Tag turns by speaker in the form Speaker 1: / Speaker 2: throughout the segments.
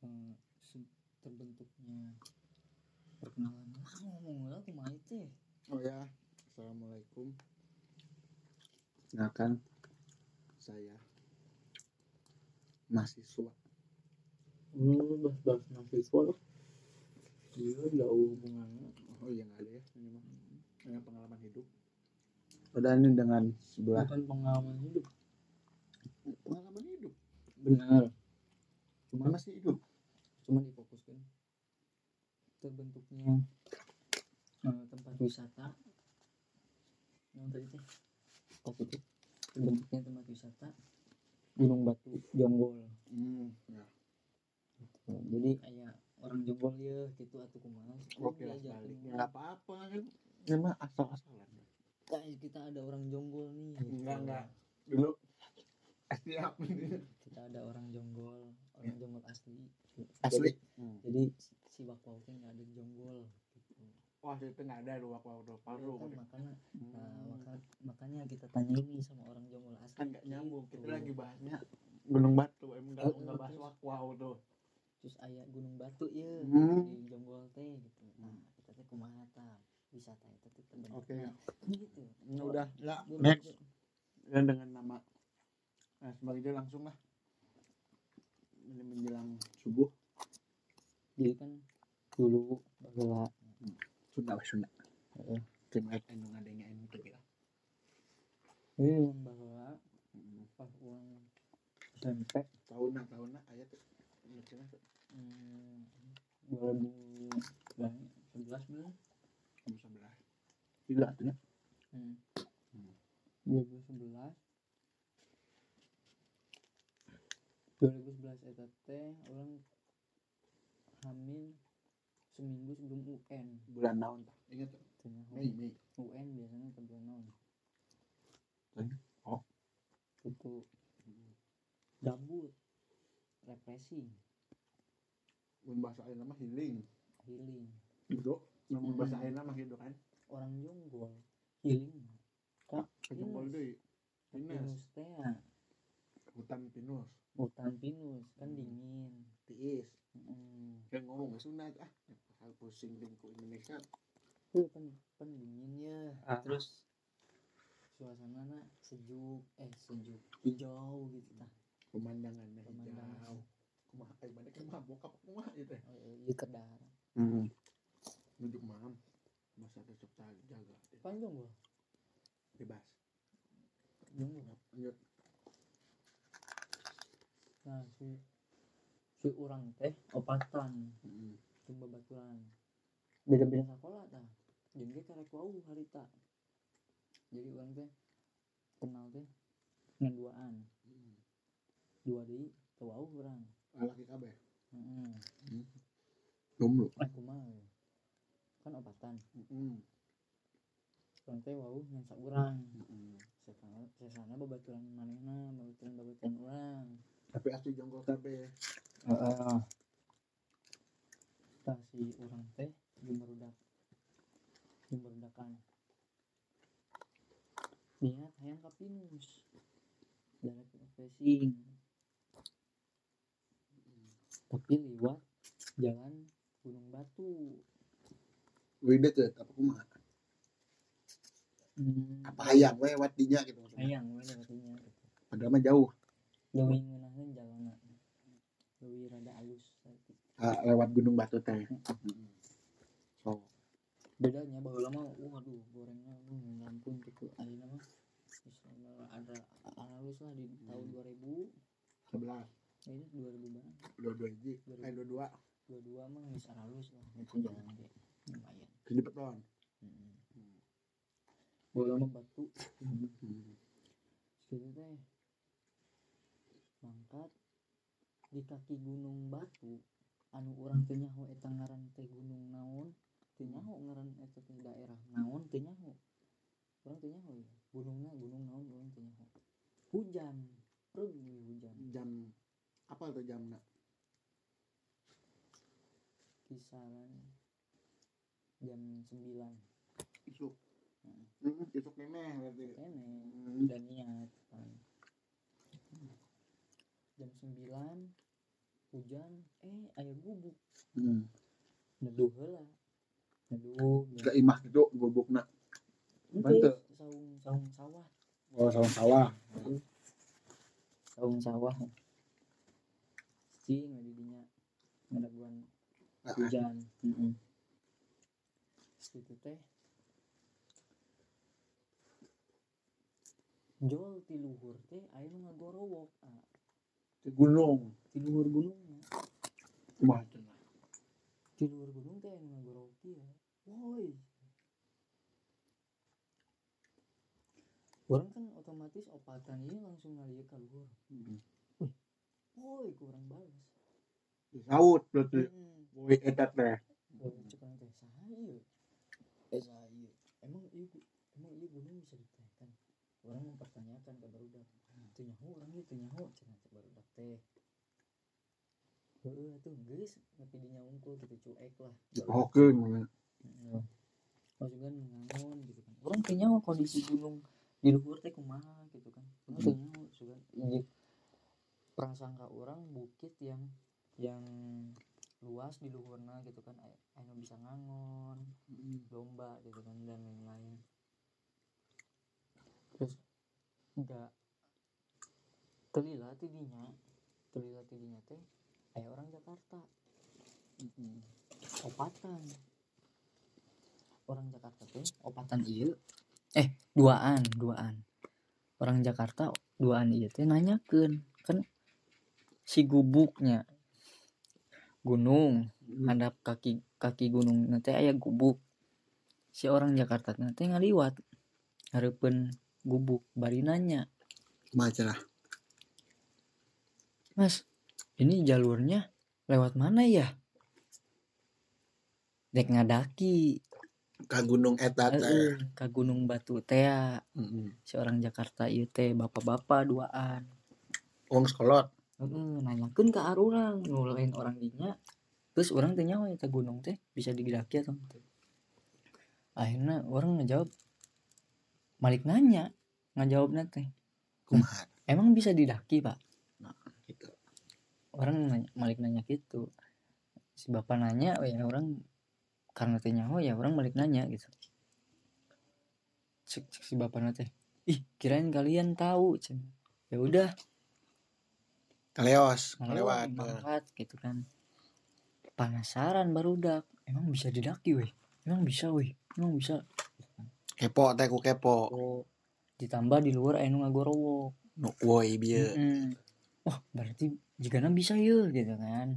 Speaker 1: eh,
Speaker 2: bentuknya perkenalan ah ngomong lah aku mah itu ya.
Speaker 1: Oh ya, assalamualaikum. Silakan. Saya mahasiswa.
Speaker 2: lu bahas bahas mahasiswa lo iya nggak hubungannya
Speaker 1: Oh iya nggak ada ya ini mah. Dengan pengalaman hidup. Udah ini dengan sebelah
Speaker 2: bukan pengalaman hidup
Speaker 1: pengalaman hidup.
Speaker 2: benar
Speaker 1: Cuma masih hidup.
Speaker 2: cuma difokuskan terbentuknya eh, tempat wisata yang tadi teh kopi tuh. terbentuknya tempat wisata Gunung Batu Jonggol
Speaker 1: Hmm, ya.
Speaker 2: jadi kayak orang Jonggol ya gitu atau kumaha
Speaker 1: Oke lah
Speaker 2: Diajak
Speaker 1: balik.
Speaker 2: ke-
Speaker 1: Iya, Nggak apa-apa kan. Ini mah asal-asalan.
Speaker 2: Guys, kita ada orang jonggol nih.
Speaker 1: Enggak, enggak. Dulu siap
Speaker 2: Kita ada orang jonggol, orang jonggol asli.
Speaker 1: Asli.
Speaker 2: Jadi, jadi si- si bakwau teh enggak ada di jonggol gitu.
Speaker 1: Wah, itu nggak ada dua paru dua paru.
Speaker 2: Kan makanya nah,
Speaker 1: Hmm.
Speaker 2: maka- makanya kita tanya ini sama orang jonggol asli.
Speaker 1: kan nggak nyambung kita
Speaker 2: Gitu.
Speaker 1: lagi bahasnya gunung batu emang nggak
Speaker 2: Oh,
Speaker 1: nggak bahas
Speaker 2: terus.
Speaker 1: wow tuh
Speaker 2: Terus aya Gunung Batu ya
Speaker 1: Hmm.
Speaker 2: di jonggol teh gitu. Nah, kita teh kumaha tah? Wisata itu teh terbentuknya.
Speaker 1: Oke.
Speaker 2: Gitu.
Speaker 1: ya udah lah
Speaker 2: Gua-
Speaker 1: next dan dengan nama nah sebagai dia langsung lah ini menjelang subuh
Speaker 2: Jadi kan dulu bahwa
Speaker 1: sudah sudah
Speaker 2: Heeh.
Speaker 1: terima kasih nung adanya ini tuh kita
Speaker 2: ini bahwa pas uang SMP
Speaker 1: tahun nah tahun nah ayat Maksudnya,
Speaker 2: Hmm, 2011 belum?
Speaker 1: kamu sebelah tidak tidak
Speaker 2: Hmm.
Speaker 1: Hmm.
Speaker 2: 2011 2011 eta teh eh, orang hamil seminggu sebelum UN.
Speaker 1: bulan tahun tak ingat tak?
Speaker 2: Cenah
Speaker 1: Mei Mei
Speaker 2: UN biasanya ke bulan naon?
Speaker 1: Eh, oh.
Speaker 2: Itu gabut represi
Speaker 1: mun bahasa ayeuna mah healing
Speaker 2: healing
Speaker 1: hidup namun bahasa
Speaker 2: Hmm.
Speaker 1: ayeuna mah hidup kan
Speaker 2: orang jonggol healing
Speaker 1: kejombol deui pinus
Speaker 2: pinus teh ya.
Speaker 1: hutan pinus
Speaker 2: hutan pinus kan
Speaker 1: Hmm.
Speaker 2: dingin
Speaker 1: tiis
Speaker 2: Mm.
Speaker 1: yang ngomong nggak sunat ah hal pusing lingku Indonesia Iya,
Speaker 2: Tuh, kan, kan dingin ya
Speaker 1: Ah.
Speaker 2: terus suasana sejuk eh sejuk hijau gitu tah
Speaker 1: pemandangannya
Speaker 2: Pemandangan.
Speaker 1: hijau kumaha eh mana kumaha bokap kumaha itu teh
Speaker 2: Oh, iya, iya kedar
Speaker 1: hmm. nunjuk maam masa tetap jaga jaga
Speaker 2: kan jonggol
Speaker 1: bebas
Speaker 2: jonggol
Speaker 1: lanjut
Speaker 2: nah si si orang teh opatan
Speaker 1: hmm.
Speaker 2: cuma baturan beda beda sekolah tah jeung ge karek wau harita jadi orang teh kenal teh ngan duaan
Speaker 1: Hmm.
Speaker 2: dua deui teu wau urang
Speaker 1: laki kabeh
Speaker 2: heeh
Speaker 1: jomblo
Speaker 2: aku mah kan opatan
Speaker 1: hmm.
Speaker 2: orang teh wau ngan saurang
Speaker 1: Hmm.
Speaker 2: sesana sesana babaturan manehna babaturan babaturan urang
Speaker 1: tapi asli jonggol kabeh
Speaker 2: heeh tah si urang teh jumerudak jumerudakan niat hayang ka pinus dari profesi tapi liwat jalan gunung batu
Speaker 1: Wida tuh apa kumaha
Speaker 2: hmm.
Speaker 1: apa hayang lewat dinya gitu maksudnya
Speaker 2: hayang we lewatinya gitu
Speaker 1: padahal mah jauh
Speaker 2: leuwih ngeunaheun jalana leuwih rada alus saeutik.
Speaker 1: Ah, lewat gunung batu teh Hmm. so
Speaker 2: bedanya bahwa lama waduh gorengnya hmm, ampun gitu akhirnya mah misalnya ada analis lah di tahun
Speaker 1: Hmm.
Speaker 2: 2000
Speaker 1: sebelah
Speaker 2: ini 2000 banget
Speaker 1: dua dua hiji eh dua dua
Speaker 2: 22 mah bisa analis lah itu jalan kayak lumayan
Speaker 1: jadi beton
Speaker 2: hmm. bahwa lama batu
Speaker 1: Hmm.
Speaker 2: gitu teh mangkat di kaki gunung batu anu orang teh nyaho eta ngaran teh gunung naon teh nyaho ngaran eta teh daerah naon teh nyaho urang teh nyaho ya gunungna gunung naon urang teh nyaho hujan pergi hujan
Speaker 1: jam apa tuh jamna
Speaker 2: kisaran jam 9
Speaker 1: isuk
Speaker 2: Heeh.
Speaker 1: hmm. isuk neneh berarti
Speaker 2: kene
Speaker 1: Hmm.
Speaker 2: udah niat kan.
Speaker 1: Hmm.
Speaker 2: jam 9 hujan eh aya gubuk neduh heula neduh
Speaker 1: ke imah gitu gobok nak Mantep.
Speaker 2: Ente, saung saung sawah
Speaker 1: oh sawah sawah
Speaker 2: saung sawah cing ada dinya ngadaguan
Speaker 1: Ah,
Speaker 2: hujan heeh situ teh jol ti luhur teh aya nu ngagorowok ah,
Speaker 1: di gunung
Speaker 2: ti luhur gunung ya.
Speaker 1: wah nah. cenah.
Speaker 2: di luar gunung teh anu ngagorowok ya woi orang kan otomatis opatan ini langsung ngalieu ka luhur
Speaker 1: Mm.
Speaker 2: woi kurang bagus Hmm,
Speaker 1: di saut berarti
Speaker 2: Heeh.
Speaker 1: woi etat teh
Speaker 2: Orang cekan teh saha ieu eh saha ieu emang ieu gu- emang ieu gunung bisa ditaikkan orang mempertanyakan ke barudak teu nyaho urang ieu teu nyaho cenah teh barudak teh heeh atuh geus nepi dinya unggul gitu cuek lah
Speaker 1: oke
Speaker 2: Heeh. Maksudnya ngangon gitu kan. Orang kayaknya kondisi gunung di luhur teh kumaha gitu kan. Orang
Speaker 1: Hmm.
Speaker 2: kayaknya juga iya. Prasangka orang bukit yang yang luas di luhurna gitu kan aya aya nu bisa ngangon,
Speaker 1: Hmm.
Speaker 2: domba gitu kan dan lain-lain. Terus enggak telila tidinya, telila tidinya teh aya orang Jakarta opatan orang Jakarta tuh opatan iya eh duaan duaan orang Jakarta duaan iya teh nanyakeun kan si gubuknya gunung
Speaker 1: Hmm.
Speaker 2: handap kaki kaki gunung nanti aya gubuk si orang Jakarta nanti ngaliwat hareupeun gubuk bari nanya
Speaker 1: macam lah
Speaker 2: Mas, ini jalurnya lewat mana ya? Dek ngadaki
Speaker 1: ke gunung etat
Speaker 2: eh, ke Gunung Batu Tea, seorang Jakarta ieu teh bapak-bapak duaan.
Speaker 1: uang sekolot
Speaker 2: Heeh, nanyakeun ka arurang nu lain orang dinya. Terus orang teh nyawa eta gunung teh bisa digedaki atau teu. Akhirnya orang ngejawab Malik nanya, ngajawabna teh,
Speaker 1: kumaha
Speaker 2: emang bisa didaki, Pak?
Speaker 1: gitu
Speaker 2: orang nanya, malik nanya gitu si bapak nanya oh ya orang karena teh nyaho ya orang balik nanya gitu cek, cek si bapak nanya ih kirain kalian tahu cen ya udah
Speaker 1: kaleos
Speaker 2: ngelewat mangkat gitu kan penasaran barudak emang bisa didaki weh emang bisa weh emang bisa
Speaker 1: kepo teh ku kepo
Speaker 2: oh ditambah di luar anu ngagorowok
Speaker 1: nu woi bieu
Speaker 2: Mm-mm. Wah berarti jika bisa ya gitu kan.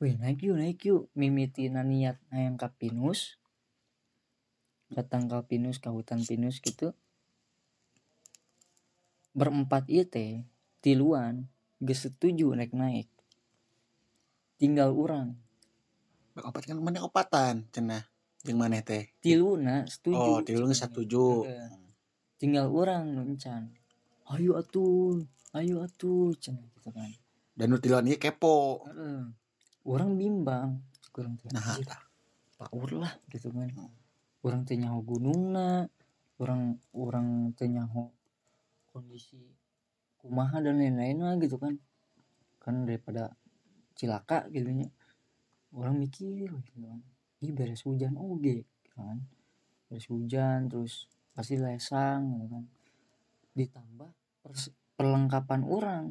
Speaker 2: Wih naik yuk naik yuk mimiti niat hayang ka pinus. Datang ka pinus ka hutan pinus gitu. Berempat ieu teh tiluan geus setuju naik naik. Tinggal urang
Speaker 1: opat kan mana opatan cenah jeung maneh teh
Speaker 2: tiluna setuju.
Speaker 1: oh tilu geus satuju
Speaker 2: Heeh. Tinggal urang nu encan. Ayo atuh, ayo atuh cenah gitu kan.
Speaker 1: dan nu tiluan ieu kepo
Speaker 2: Heeh. orang bimbang kurang teh
Speaker 1: nah
Speaker 2: anjir,
Speaker 1: tah
Speaker 2: paur lah gitu kan
Speaker 1: Hmm.
Speaker 2: orang teh nyaho gunungna orang orang teh nyaho kondisi kumaha dan lain-lain lah gitu kan kan daripada cilaka gitu nya orang mikir gitu kan ih beres hujan oge gitu kan beres hujan terus pasti lesang gitu kan ditambah pers- perlengkapan orang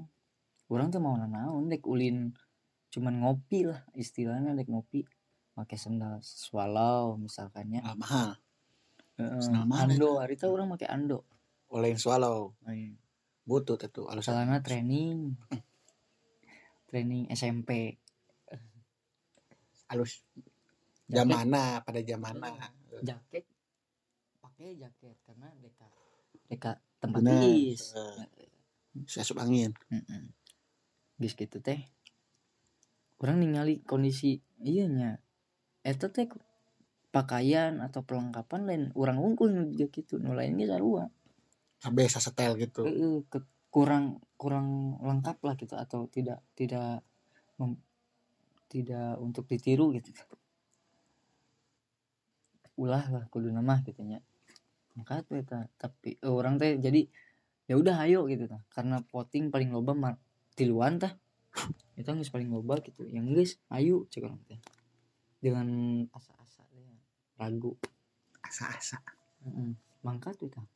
Speaker 2: orang tuh mau naon dek ulin cuman ngopi lah istilahnya dek ngopi pakai sendal swallow misalkannya
Speaker 1: ah, mahal
Speaker 2: Heeh,
Speaker 1: sendal mana
Speaker 2: ando hari itu orang pakai ando
Speaker 1: oleh swallow butut itu alasan
Speaker 2: misalnya training training SMP
Speaker 1: alus
Speaker 2: Jaket.
Speaker 1: jamana pada jamana
Speaker 2: jaket pakai jaket karena deka deka tempat
Speaker 1: Bener.
Speaker 2: tiis
Speaker 1: Heeh. si asup angin
Speaker 2: Heeh. Geus gitu teh. Orang ningali kondisi iya nya. Eta teh ku- pakaian atau perlengkapan lain orang unggul nu dia kitu nu lain ge sarua.
Speaker 1: kabeh sasetel gitu
Speaker 2: Heeh, ke- kurang kurang lengkap lah gitu atau tidak tidak mem- tidak untuk ditiru gitu. Ulah lah kudu mah gitu nya. Maka tuh eta tapi eh, orang teh jadi ya udah ayo gitu tah. Karena voting paling loba mah tiluan tah. Eta geus paling loba gitu. Yang geus ayo cek orang teh. dengan asa-asa deh ragu
Speaker 1: asa-asa
Speaker 2: Heeh. mangkat we kang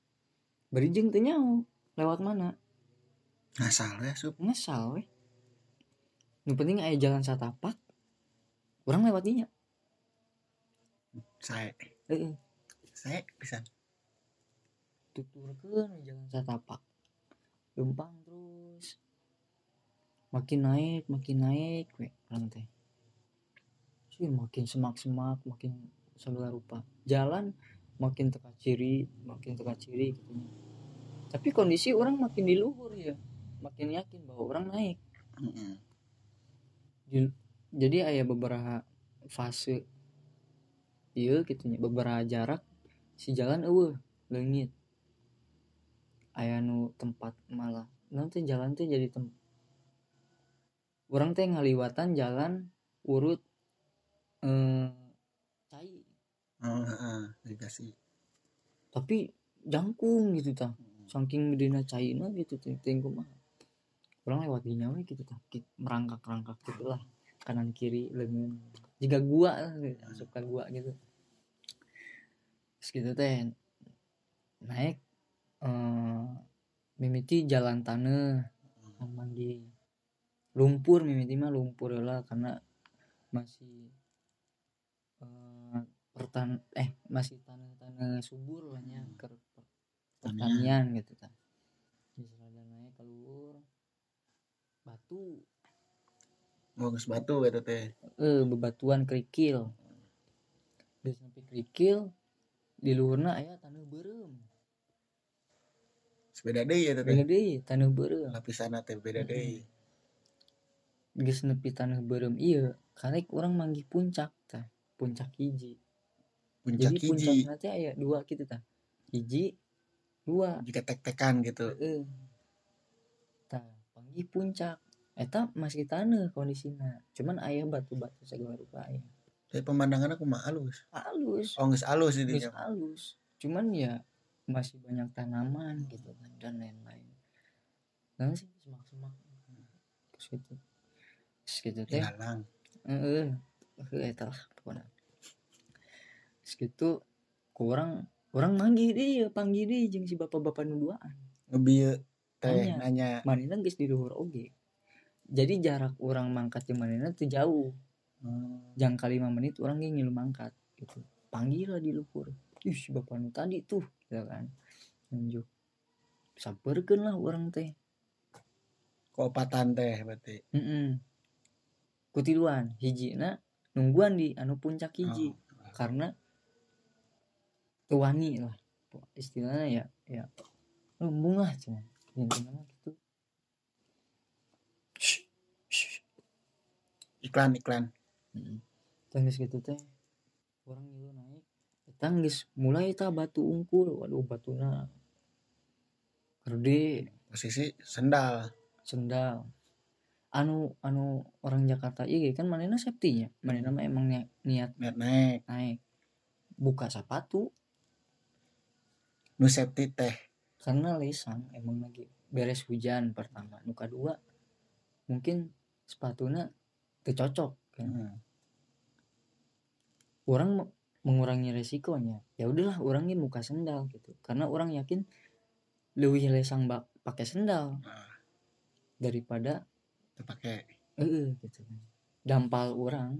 Speaker 2: berijing teu nyaho lewat mana
Speaker 1: ngasal ya sup
Speaker 2: ngesal we nu penting aya jalan satapak orang lewat dinya
Speaker 1: saya
Speaker 2: heeh
Speaker 1: saya pisan
Speaker 2: tuturkeun we jalan satapak lempang terus makin naik makin naik we orang teh Sih, makin semak-semak makin segala rupa jalan makin teka ciri makin teka ciri katanya. tapi kondisi orang makin di luhur ya makin yakin bahwa orang naik
Speaker 1: Heeh.
Speaker 2: Ju- jadi ayah beberapa fase iya gitu nya beberapa jarak si jalan eueuh leungit aya nu tempat malah nanti jalan tuh jadi tem orang teh ngaliwatan jalan urut eh cai
Speaker 1: oh heeh dikasih
Speaker 2: tapi jangkung gitu tah saking bedena caina gitu ting ting mah orang lewat dinya we gitu tah Ki- merangkak-rangkak gitu lah kanan kiri lengan jika gua lah, gitu. masuk ke gua gitu terus gitu teh naik eh mimiti jalan tanah aman di lumpur mimiti mah lumpur ya lah karena masih eh, pertan eh masih tanah-tanah subur lahnya ke pertanian gitu kan misalnya naik ke luhur batu
Speaker 1: bagus batu gitu teh
Speaker 2: eh bebatuan kerikil di samping kerikil di luhurna aya tanah berem
Speaker 1: sepeda deh ya
Speaker 2: beda
Speaker 1: teh
Speaker 2: deui tanah berem
Speaker 1: lapisan teh beda
Speaker 2: Mm-mm.
Speaker 1: deh
Speaker 2: geus nepi tanah berem iya karek orang manggih puncak tah puncak hiji
Speaker 1: puncak
Speaker 2: jadi puncak
Speaker 1: hiji
Speaker 2: nanti aya dua gitu tah hiji dua
Speaker 1: jika tek-tekan gitu
Speaker 2: heeh tah panggih puncak eta masih tanah kondisina cuman aya batu-batu segala rupa aya
Speaker 1: tapi pemandangannya aku mah halus
Speaker 2: halus
Speaker 1: oh nggak halus
Speaker 2: Terus
Speaker 1: jadinya
Speaker 2: halus cuman ya masih banyak tanaman gitu kan dan lain-lain dan sih semak-semak terus gitu terus gitu teh
Speaker 1: ilalang
Speaker 2: heeh heeh eta lah pokoknya terus gitu kurang orang manggih dia panggil dia jeung si bapak-bapak nu duaan
Speaker 1: ngebieu teh
Speaker 2: Nanya.
Speaker 1: nanya
Speaker 2: manena geus di luhur oge jadi jarak orang mangkat jeung manena teu jauh
Speaker 1: Hmm.
Speaker 2: jang kali lima menit orang ge ngilu mangkat gitu panggil lah di luhur ih si bapak nu tadi tuh gitu kan nunjuk sabarkeun lah orang teh
Speaker 1: kopatan teh berarti
Speaker 2: heeh kutiluan hijina nungguan di anu puncak hiji
Speaker 1: Oh.
Speaker 2: karena tuani lah istilahnya ya ya lembung lah cuman intinya mah gitu Shh, shh.
Speaker 1: iklan iklan
Speaker 2: Mm. Tangis gitu teh orang itu naik tangis mulai tak batu unggul waduh batuna gede
Speaker 1: posisi sendal
Speaker 2: sendal anu anu orang Jakarta iya kan manena safety nya manena mah emang niat, niat
Speaker 1: naik naik
Speaker 2: naik buka sepatu
Speaker 1: nu safety teh
Speaker 2: karena lesang emang lagi beres hujan pertama nuka dua mungkin sepatuna teu cocok kan
Speaker 1: Hmm.
Speaker 2: orang me- mengurangi resikonya ya udahlah orangnya muka sendal gitu karena orang yakin lebih lesang bak pakai sendal
Speaker 1: Ah.
Speaker 2: daripada
Speaker 1: teu pakai
Speaker 2: eh gitu kan dampal orang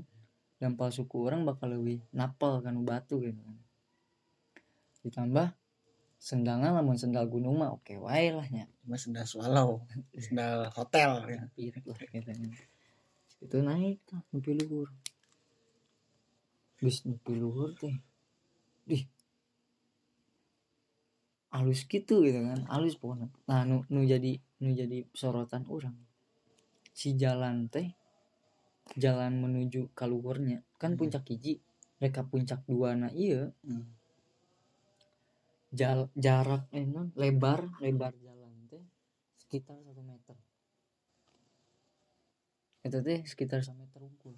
Speaker 2: dampal suku orang bakal lebih napel kan batu gitu kan ditambah sendangan lamun sendal gunung mah oke wae lah nya
Speaker 1: cuma sendal swallow
Speaker 2: Iya.
Speaker 1: sendal hotel ya.
Speaker 2: Pit lah gitu kan. itu naik tuh nepi luhur bis nepi luhur teh dih halus gitu gitu kan halus pokoknya nah nu, nu jadi nu jadi sorotan orang si jalan teh jalan menuju ka luhurnya kan
Speaker 1: Hmm.
Speaker 2: puncak hiji mereka puncak dua na iya
Speaker 1: Hmm.
Speaker 2: jal, jarak eh, non, lebar lebar jalan teh sekitar satu meter itu teh sekitar satu meter unggul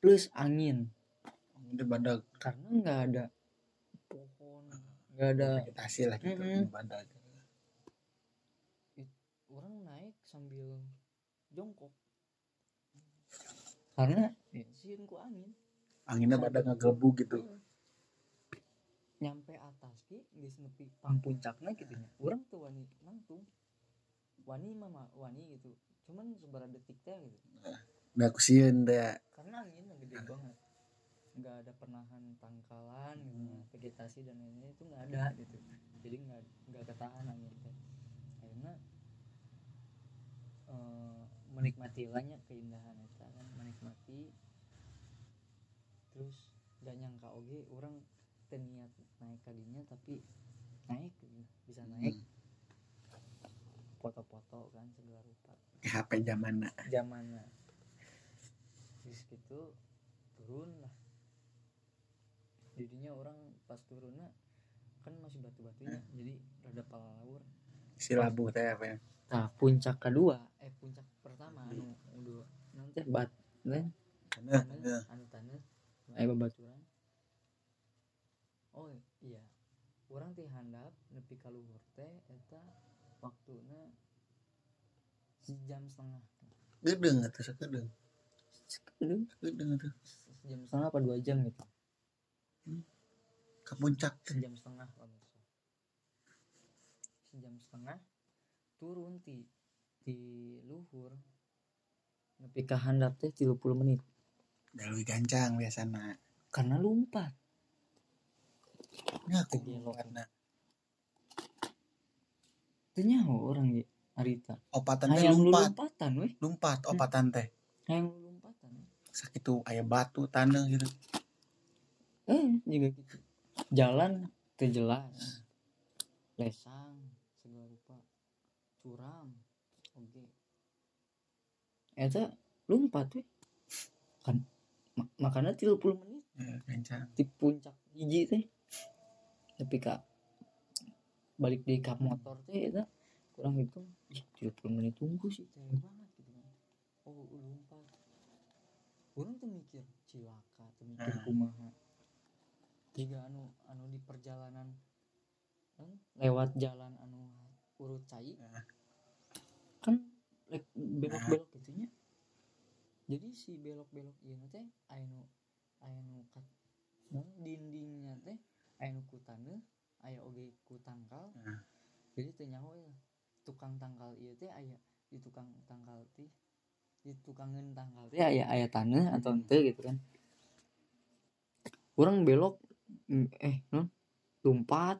Speaker 2: plus angin
Speaker 1: udah badag
Speaker 2: karena nggak ada pohon nggak ada
Speaker 1: vegetasi lah gitu
Speaker 2: Mm-mm.
Speaker 1: badag
Speaker 2: orang naik sambil Iya. jongkok karena bensin ku angin
Speaker 1: anginnya pada ngegrebu gitu
Speaker 2: nyampe atas ki di nepi pang puncaknya gitu nya orang tuh wani nangtung wani mama wani gitu cuman seberapa detik teh gitu
Speaker 1: udah kusieun deh
Speaker 2: karena anginnya gede banget nggak ada penahan pangkalan gitu ya, vegetasi dan lain-lain itu nggak ada gitu jadi nggak nggak ketahan angin teh akhirnya eh, menikmati banyak keindahan itu kan menikmati terus gak nyangka oge orang teniat naik kadinya tapi naik gitu. bisa naik
Speaker 1: Hmm.
Speaker 2: foto-foto kan segala rupa
Speaker 1: ke HP zaman
Speaker 2: zamannya terus gitu turun lah jadinya orang pas turunnya kan masih batu-batunya jadi rada palalawur
Speaker 1: si labu teh apa ya
Speaker 2: nah puncak kedua eh puncak pertama anu dua nanti bat lain
Speaker 1: Nah,
Speaker 2: tanah anu tanah eh babaturan oh iya orang teh handap nepi ka luhur teh eta waktuna sejam setengah
Speaker 1: gedeng atau sekedeng
Speaker 2: Aduh,
Speaker 1: gedeng atau
Speaker 2: sejam setengah apa dua jam gitu
Speaker 1: ke puncak
Speaker 2: sejam setengah kalau nggak salah. sejam setengah turun ti di luhur nepi ka handap teh 30 menit
Speaker 1: dari gancang biasana
Speaker 2: karena lumpat
Speaker 1: ngaku
Speaker 2: Iya, lo.
Speaker 1: karena
Speaker 2: teu nyaho orang ye arita
Speaker 1: opatan teh
Speaker 2: hayang lu
Speaker 1: lumpat
Speaker 2: lompatan weh
Speaker 1: lumpat opatan teh
Speaker 2: hayang lu lompatan
Speaker 1: sakit tuh ayah batu tanah gitu
Speaker 2: eh juga gitu jalan teu jelas lesang segala rupa curam oke eta lumpat weh kan ma- makanya 30 menit
Speaker 1: Ya, gancang
Speaker 2: di puncak hiji teh tapi kak balik di kap motor teh itu kurang hitung ih 30 menit tunggu sih teh banget gitu kan oh lupa kurang tuh mikir cilaka tuh mikir
Speaker 1: Hmm.
Speaker 2: kumaha jika anu anu di perjalanan kan, lewat jalan anu urut cai
Speaker 1: Hmm.
Speaker 2: kan lek- belok-belok gitunya jadi si belok-belok ieu teh anu anu kat Nah, dindingnya teh aya nu kutane aya oge ku tangkal
Speaker 1: Heeh.
Speaker 2: jadi teu nyaho ya tukang tangkal ieu teh aya di tukang tangkal teh di tukangan tangkal teh aya aya tanah atau henteu gitu kan kurang belok mm, eh non lompat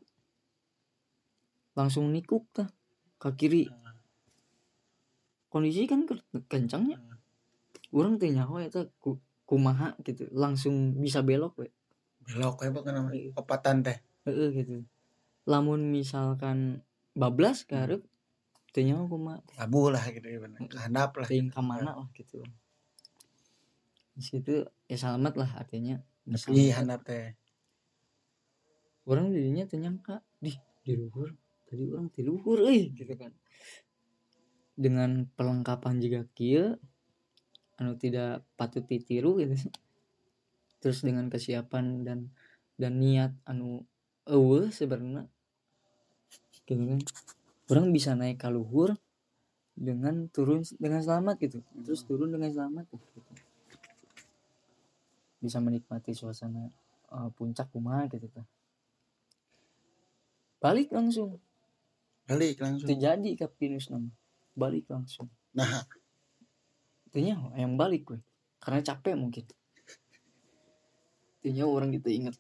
Speaker 2: langsung nikuk tah ke kiri
Speaker 1: Heeh.
Speaker 2: kondisi kan ker- kencangnya
Speaker 1: Heeh.
Speaker 2: kurang teh nyaho eta ku, kumaha gitu langsung bisa belok we
Speaker 1: belok ya bukan namanya
Speaker 2: Iya.
Speaker 1: opatan teh
Speaker 2: Heeh gitu. Lamun misalkan bablas ke hareup teu nyaho kumaha
Speaker 1: labu lah gitu ya bener kehandap lah
Speaker 2: teuing ka mana lah gitu. Di situ ya selamat lah artinya.
Speaker 1: asli handap teh
Speaker 2: Orang dirinya teu nyangka, di di luhur. Tadi orang di luhur euy gitu kan. Dengan perlengkapan juga kieu anu tidak patut ditiru gitu. Terus dengan kesiapan dan dan niat anu eueuh sebenarnya gitu kan. Orang bisa naik ke luhur dengan turun s- dengan selamat gitu. Terus turun dengan selamat gitu. Bisa menikmati suasana eh, puncak kumaha gitu kan. Balik langsung
Speaker 1: balik langsung
Speaker 2: terjadi ke pinus nama. Balik langsung.
Speaker 1: nah
Speaker 2: Tanya yang balik gue karena capek mungkin. Tanya orang gitu inget.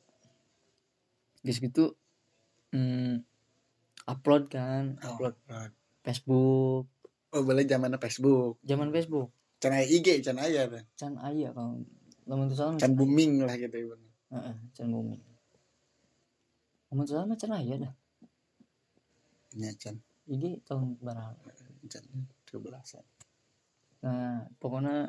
Speaker 2: Guys gitu hmm, upload kan, upload
Speaker 1: oh,
Speaker 2: Facebook,
Speaker 1: oh balik zaman Facebook
Speaker 2: zaman Facebook,
Speaker 1: can aya IG can aya teh
Speaker 2: can aya kalau lamun tuh salah
Speaker 1: can booming lah gitu ya bener
Speaker 2: Heeh, Can Bumi. Amun salah mah Can aya dah.
Speaker 1: ya can
Speaker 2: Ini tahun berapa?
Speaker 1: can 12
Speaker 2: Nah, pokoknya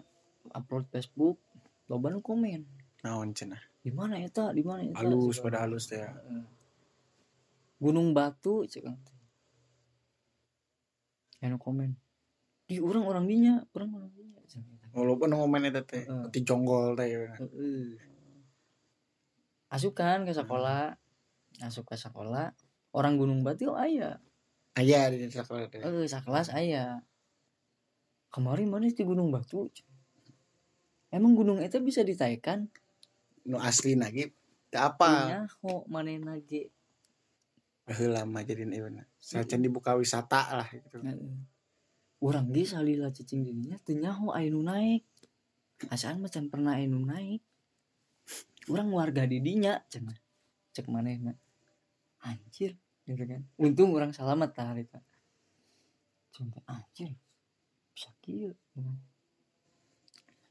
Speaker 2: upload Facebook, loba nu komen.
Speaker 1: naon cenah
Speaker 2: Di mana eta? Di mana ya, eta?
Speaker 1: halus
Speaker 2: Cek.
Speaker 1: pada halus teh ya.
Speaker 2: Heeh. Gunung Batu cek kan. Ya, orang teh. Aya nu komen. Di orang orang dinya, orang orang dinya. cek kan. orang teh.
Speaker 1: walaupun ngomen eta teh
Speaker 2: Heeh.
Speaker 1: ti jonggol teh ya bener.
Speaker 2: Heeh. Asukan ke sekolah, asup ke sekolah. Orang Gunung Batu aya.
Speaker 1: aya Hmm. Ah, iya, di sekolah teh
Speaker 2: Eh, sakelas aya. Kemarin mana di Gunung Batu? Emang gunung itu bisa ditaikkan?
Speaker 1: nu asli nage teu apal
Speaker 2: nyaho manehna ge
Speaker 1: heula mah jadina ieu sacan dibuka wisata lah gitu
Speaker 2: Heeh. urang ge salila cicing dirinya teu nyaho aya nu naek asaan macan pernah aya nu naek urang warga didinya cenah cek manehna anjir gitu kan untung urang selamat tah harita Sumpah, anjir bisa kieu gitu kan.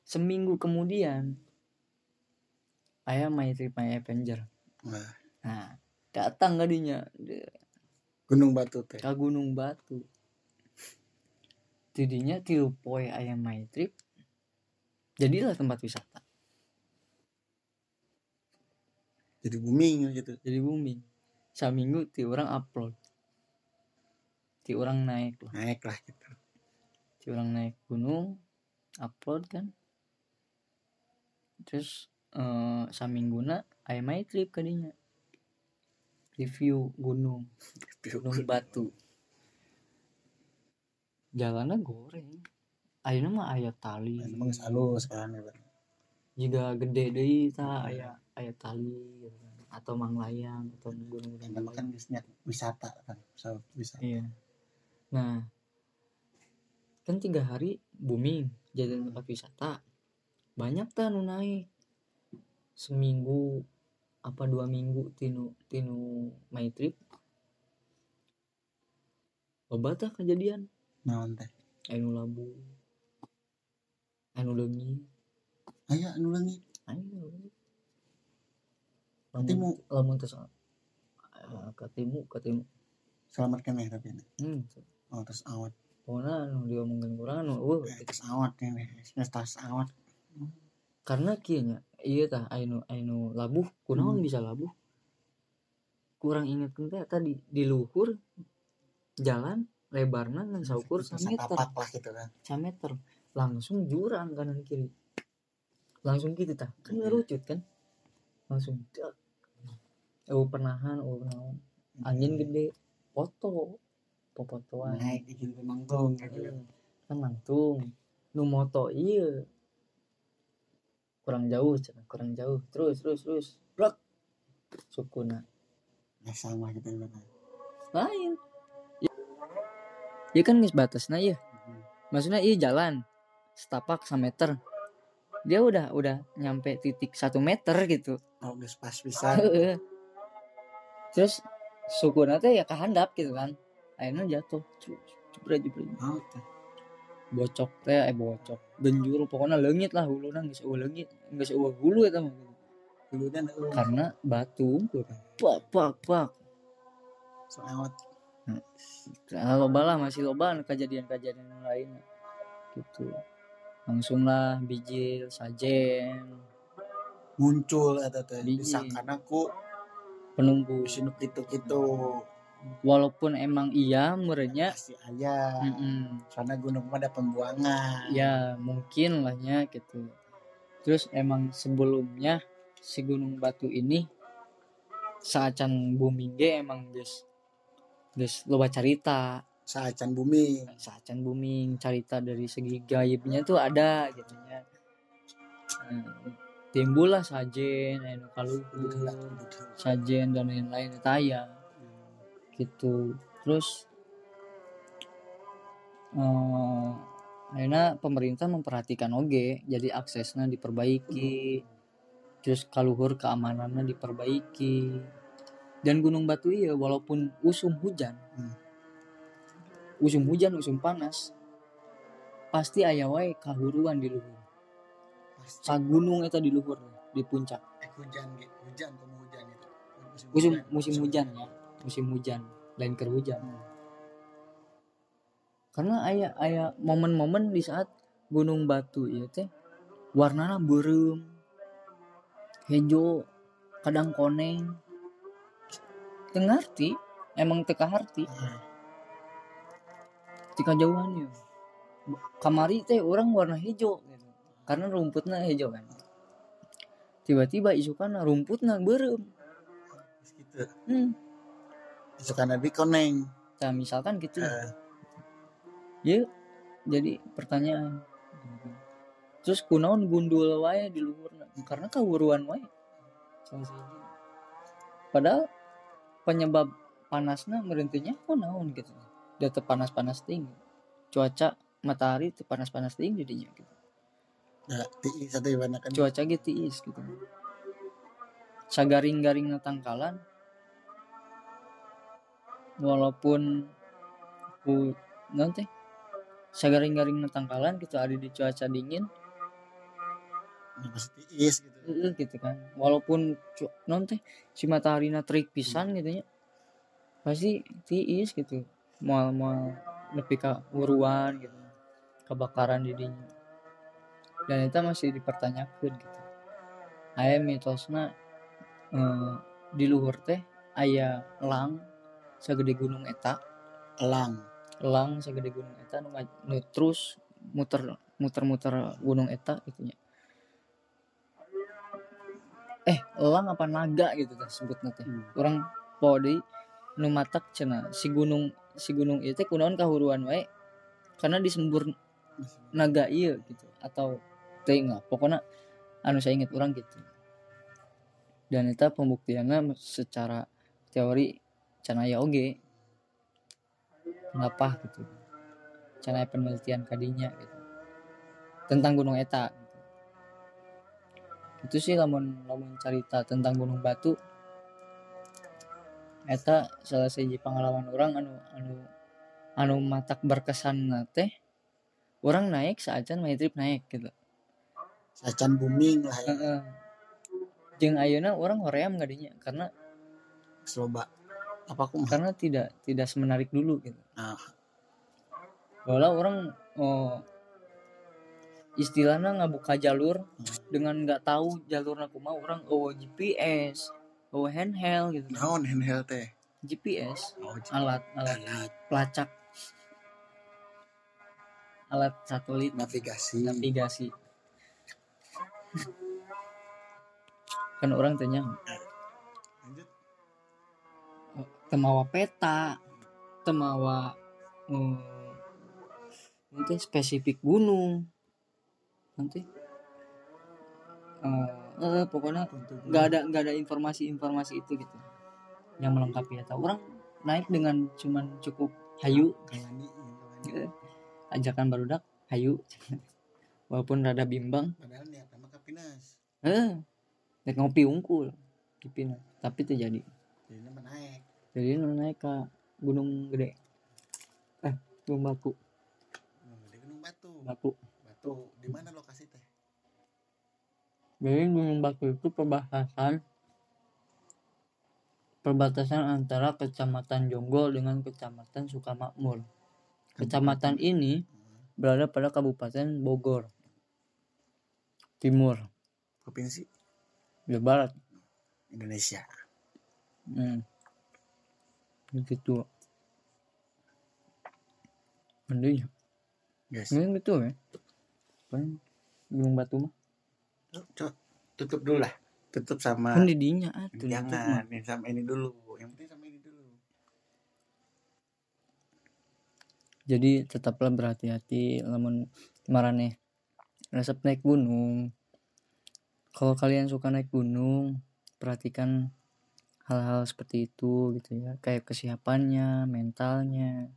Speaker 2: seminggu kemudian aya Maitri Maya Avenger
Speaker 1: Wah.
Speaker 2: nah datang gadinya Dia-
Speaker 1: Gunung Batu teh
Speaker 2: ke Gunung Batu. Tidinya tilu poe ayam my trip. Jadilah tempat wisata.
Speaker 1: jadi booming gitu
Speaker 2: Jadi booming. Saminggu ti orang upload. Ti orang naik lah.
Speaker 1: naik lah gitu
Speaker 2: Ti orang naik gunung upload kan. Terus eh samingguna ayam my trip kadinya. Review gunung, gunung batu. Jalannya goreng. Ayeuna mah aya tali.
Speaker 1: Nah, emang halus kan gitu.
Speaker 2: jika gede deh ta aya aya tali gitu kan. atau manglayang atau gunung-gunung
Speaker 1: Emang
Speaker 2: lain.
Speaker 1: kan biasanya wisata kan pesawat wisata
Speaker 2: iya nah kan tiga hari booming jadi tempat wisata banyak tuh anu naik seminggu apa dua minggu tinu tinu my trip loba tah kejadian
Speaker 1: naon teh
Speaker 2: anu labu anu leungi
Speaker 1: aya anu leungit
Speaker 2: ayo
Speaker 1: Katimu.
Speaker 2: lamun terus eh, katimu katimu
Speaker 1: selamat keneh tapi na.
Speaker 2: hmm
Speaker 1: oh terus awat
Speaker 2: pokoknya anu diomongin kurang anu eueuh.
Speaker 1: Eh, terus awat keneh terus tas awat
Speaker 2: karena kianya iya tah ainu ainu labuh kunaon
Speaker 1: Hmm.
Speaker 2: bisa labuh kurang inget teh tadi di luhur jalan lebarna ngan saukur
Speaker 1: Terus
Speaker 2: sameter
Speaker 1: tapak lah gitu kan
Speaker 2: sameter langsung jurang kanan kiri langsung gitu tah kan
Speaker 1: Iya.
Speaker 2: ngerucut kan langsung Oh, dak. eueuh pernahan eueuh pernahan angin gede foto
Speaker 1: Hmm.
Speaker 2: popotoan
Speaker 1: naik izin pemanggung gitu
Speaker 2: kan langsung nu moto iya kurang jauh cenah, kurang jauh terus terus terus blok sukuna
Speaker 1: nah sama gitu kan
Speaker 2: lain Iya- iya kan nggak batasnya iya
Speaker 1: Hmm.
Speaker 2: maksudnya iya jalan setapak meter dia udah udah nyampe titik satu meter gitu
Speaker 1: oh geus pas pisan
Speaker 2: Heeh. terus sukuna teh ya kehandap gitu kan akhirnya jatuh Cuk, jebret jebret
Speaker 1: oh teh
Speaker 2: bocok teh eh bocok genjur pokoknya leungit lah hulu nang geus eueuh leungit geus eueuh hulu eta mah
Speaker 1: dulu kan eueuh.
Speaker 2: karena batu pak pak pak
Speaker 1: so awat
Speaker 2: nah, loba lah masih loba anu kejadian-kejadian lain gitu langsung lah bijil sajen
Speaker 1: muncul eta teh
Speaker 2: Biji.
Speaker 1: disangkana ku
Speaker 2: penunggu
Speaker 1: sinuk gitu-gitu
Speaker 2: walaupun emang iya murenya
Speaker 1: pasti aya
Speaker 2: mm
Speaker 1: karena gunung mah ada pembuangan
Speaker 2: ya mungkin lahnya gitu terus emang sebelumnya si gunung batu ini saacan booming ge emang guys guys loba carita
Speaker 1: saacan bumi
Speaker 2: saacan booming carita dari segi gaibnya tuh ada gitu ya Nah, timbul lah sajen anu kaluhur, sajen dan lain-lain eta aya gitu terus eh akhirnya pemerintah memperhatikan oge jadi aksesnya diperbaiki terus kaluhur keamanannya diperbaiki dan Gunung Batu iya walaupun usum hujan
Speaker 1: Hmm.
Speaker 2: usum hujan usum panas pasti aya wae kahuruan di luhur
Speaker 1: Pasti
Speaker 2: sagunung eta di luhur di puncak
Speaker 1: eh, hujan ge, hujan kamu hujan gitu. itu.
Speaker 2: musim musim hujan ya musim hujan lain keur hujan
Speaker 1: Hmm.
Speaker 2: karena ayah ayah momen-momen di saat gunung batu ya teh warnanya berem hejo kadang koneng teu ngarti emang teka harti
Speaker 1: Ah,
Speaker 2: tika jauhan ya kamari teh orang warna hejo gitu. karena rumputnya hejo kan tiba-tiba isukana rumputna berem
Speaker 1: terus gitu
Speaker 2: hmm.
Speaker 1: itu karena di koneng
Speaker 2: Nah, misalkan gitu
Speaker 1: Eh,
Speaker 2: jadi pertanyaan terus kunaon gundul wae di luhurna karena kawuruan wae padahal penyebab panasnya merentinya kok naon gitu dia panas panas tinggi cuaca matahari panas panas tinggi jadinya gitu.
Speaker 1: Nah, ti satu ibaratnya kan.
Speaker 2: cuaca ge tiis gitu sagaring garing tangkalan walaupun ku nanti sagaring garing tangkalan gitu ada di cuaca dingin
Speaker 1: Ya, pasti tiis gitu.
Speaker 2: Heeh, gitu kan walaupun cu- non teh si matahari na terik pisan gitu nya pasti tiis gitu moal moal nepi ka uruan gitu kebakaran dirinya dan itu masih dipertanyakan gitu aya mitosna eh, di luhur teh aya elang sagede gunung eta
Speaker 1: Elang.
Speaker 2: elang sagede gunung eta nu, ma- nu terus muter muter muter gunung eta gitu nya eh elang apa naga gitu teh sebutna teh orang podi nu matak cenah si gunung si gunung itu kunaon kahuruan wae karena disembur naga iya gitu atau tengah pokoknya anu saya ingat orang gitu dan itu pembuktiannya secara teori canaya oge kenapa gitu canaya penelitian kadinya gitu tentang gunung eta gitu. itu sih lamun lamun cerita tentang gunung batu eta salah siji pengalaman orang anu anu anu matak berkesan na teh orang naik seacan main trip naik gitu
Speaker 1: Sacan booming lah ya.
Speaker 2: Heeh. jeung ayeuna orang hoream gadinya karena
Speaker 1: Sloba. Apa aku mah?
Speaker 2: karena tidak tidak semenarik dulu gitu
Speaker 1: Ah.
Speaker 2: Wala orang oh, istilahnya ngabuka jalur dengan nggak tahu jalurna kumaha orang oh GPS oh handheld gitu
Speaker 1: Naon handheld teh?
Speaker 2: GPS
Speaker 1: Oh,
Speaker 2: alat alat
Speaker 1: alat
Speaker 2: pelacak alat satelit
Speaker 1: navigasi.
Speaker 2: navigasi kan orang tanya
Speaker 1: Lanjut.
Speaker 2: temawa peta temawa eh, nanti spesifik gunung nanti eh, eh, pokoknya nggak ada nggak ada informasi-informasi itu gitu yang melengkapi atau orang naik dengan cuman cukup hayu
Speaker 1: Kangani.
Speaker 2: Eh, ajakan barudak hayu walaupun rada bimbang
Speaker 1: Padahal niat sama kapinas.
Speaker 2: eh naik ngopi unggul Dipina. tapi terjadi
Speaker 1: Jadi nama naik.
Speaker 2: jadi nu naik ke gunung gede eh gunung batu
Speaker 1: Hmm, Di Gunung Batu.
Speaker 2: batu
Speaker 1: Batu. Di mana lokasi teh?
Speaker 2: jadi gunung batu itu perbatasan perbatasan antara kecamatan Jonggol dengan kecamatan Sukamakmur kecamatan ini
Speaker 1: Hmm.
Speaker 2: berada pada Kabupaten Bogor Timur
Speaker 1: Provinsi
Speaker 2: Jawa Barat
Speaker 1: Indonesia.
Speaker 2: Hmm. Gitu. Mending.
Speaker 1: Guys.
Speaker 2: Mending gitu ya. Kan gunung batu mah.
Speaker 1: Cok, tutup dulu lah. Tutup sama
Speaker 2: Kan didinya atuh.
Speaker 1: jangan yang sama ini dulu. Yang penting sama ini dulu.
Speaker 2: Jadi tetaplah berhati-hati lamun marane resep naik gunung. Kalau kalian suka naik gunung, perhatikan hal-hal seperti itu gitu ya, kayak kesiapannya, mentalnya.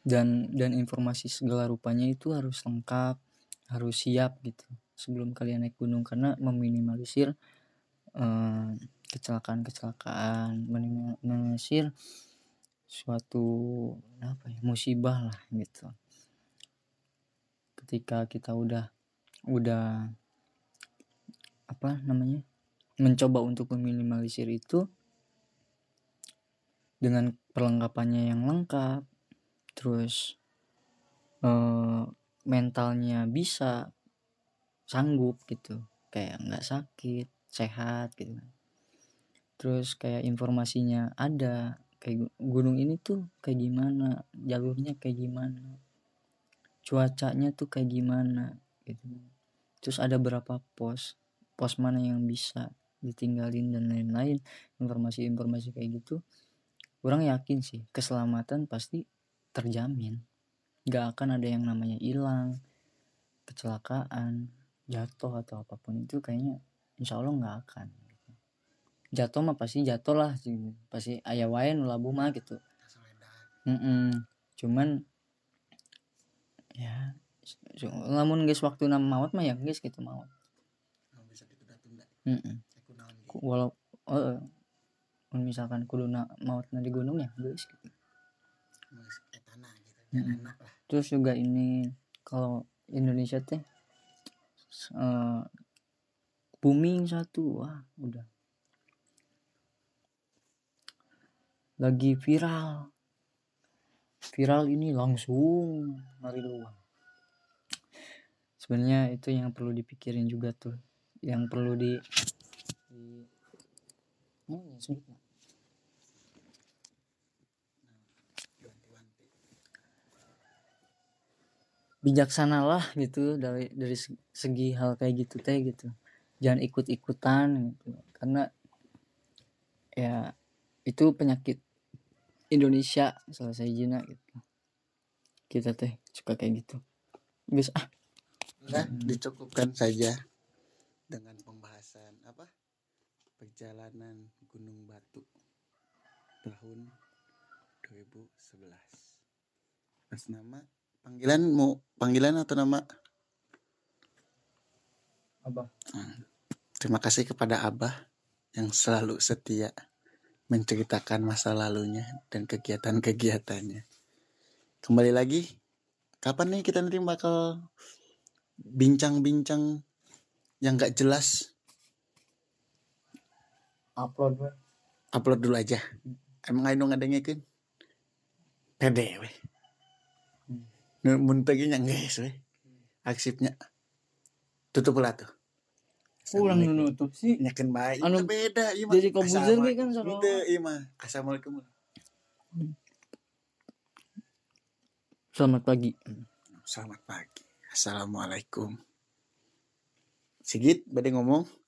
Speaker 2: Dan dan informasi segala rupanya itu harus lengkap, harus siap gitu sebelum kalian naik gunung karena meminimalisir eh, kecelakaan-kecelakaan, minim- meminimalisir suatu apa ya, musibah lah gitu. Ketika kita udah udah apa namanya? mencoba untuk meminimalisir itu dengan perlengkapannya yang lengkap, terus eh, mentalnya bisa sanggup gitu, kayak nggak sakit, sehat gitu. Terus kayak informasinya ada, kayak gu- gunung ini tuh kayak gimana jalurnya kayak gimana cuacanya tuh kayak gimana gitu terus ada berapa pos pos mana yang bisa ditinggalin dan lain-lain informasi-informasi kayak gitu kurang yakin sih keselamatan pasti terjamin gak akan ada yang namanya hilang kecelakaan jatuh atau apapun itu kayaknya insya Allah nggak akan jatuh mah pasti jatuh lah sih. pasti ayah wae nu labuh mah gitu Mm-mm. cuman ya su- lamun guys waktu nama mawat mah ya guys gitu mawat
Speaker 1: bisa ditunda-tunda
Speaker 2: Mm-mm.
Speaker 1: aku naon
Speaker 2: Ku- walau eh, mun misalkan kuduna mawatna di gunung ya guys gitu.
Speaker 1: etana gitu
Speaker 2: Mm-mm.
Speaker 1: anak lah
Speaker 2: terus juga ini kalau Indonesia teh s- eh, booming satu wah udah lagi viral viral ini langsung lari luar sebenarnya itu yang perlu dipikirin juga tuh yang perlu di, di oh, ya, sebut nggak?
Speaker 1: wanti-wanti
Speaker 2: bijaksanalah gitu dari dari se- segi hal kayak gitu teh gitu jangan ikut-ikutan gitu karena ya itu penyakit Indonesia selesai jina gitu kita teh suka kayak gitu guys ah
Speaker 1: Nah, dicukupkan saja dengan pembahasan apa? Perjalanan Gunung Batu tahun 2011. Atas nama panggilan mau panggilan atau nama?
Speaker 2: Abah.
Speaker 1: Hmm. Terima kasih kepada Abah yang selalu setia menceritakan masa lalunya dan kegiatan-kegiatannya. Kembali lagi, kapan nih kita nanti bakal bincang-bincang yang nggak jelas
Speaker 2: upload
Speaker 1: upload dulu aja emang ayo nggak dengerin pede weh Nu- mun teu nya guys weh aksipnya tutup lah tuh
Speaker 2: kurang nutup sih
Speaker 1: nyakin baik anu,
Speaker 2: Anu,
Speaker 1: beda iya
Speaker 2: jadi komposer ge kan
Speaker 1: sama
Speaker 2: soalnya.
Speaker 1: iya mah assalamualaikum
Speaker 2: selamat pagi
Speaker 1: selamat pagi assalamualaikum sigit bade ngomong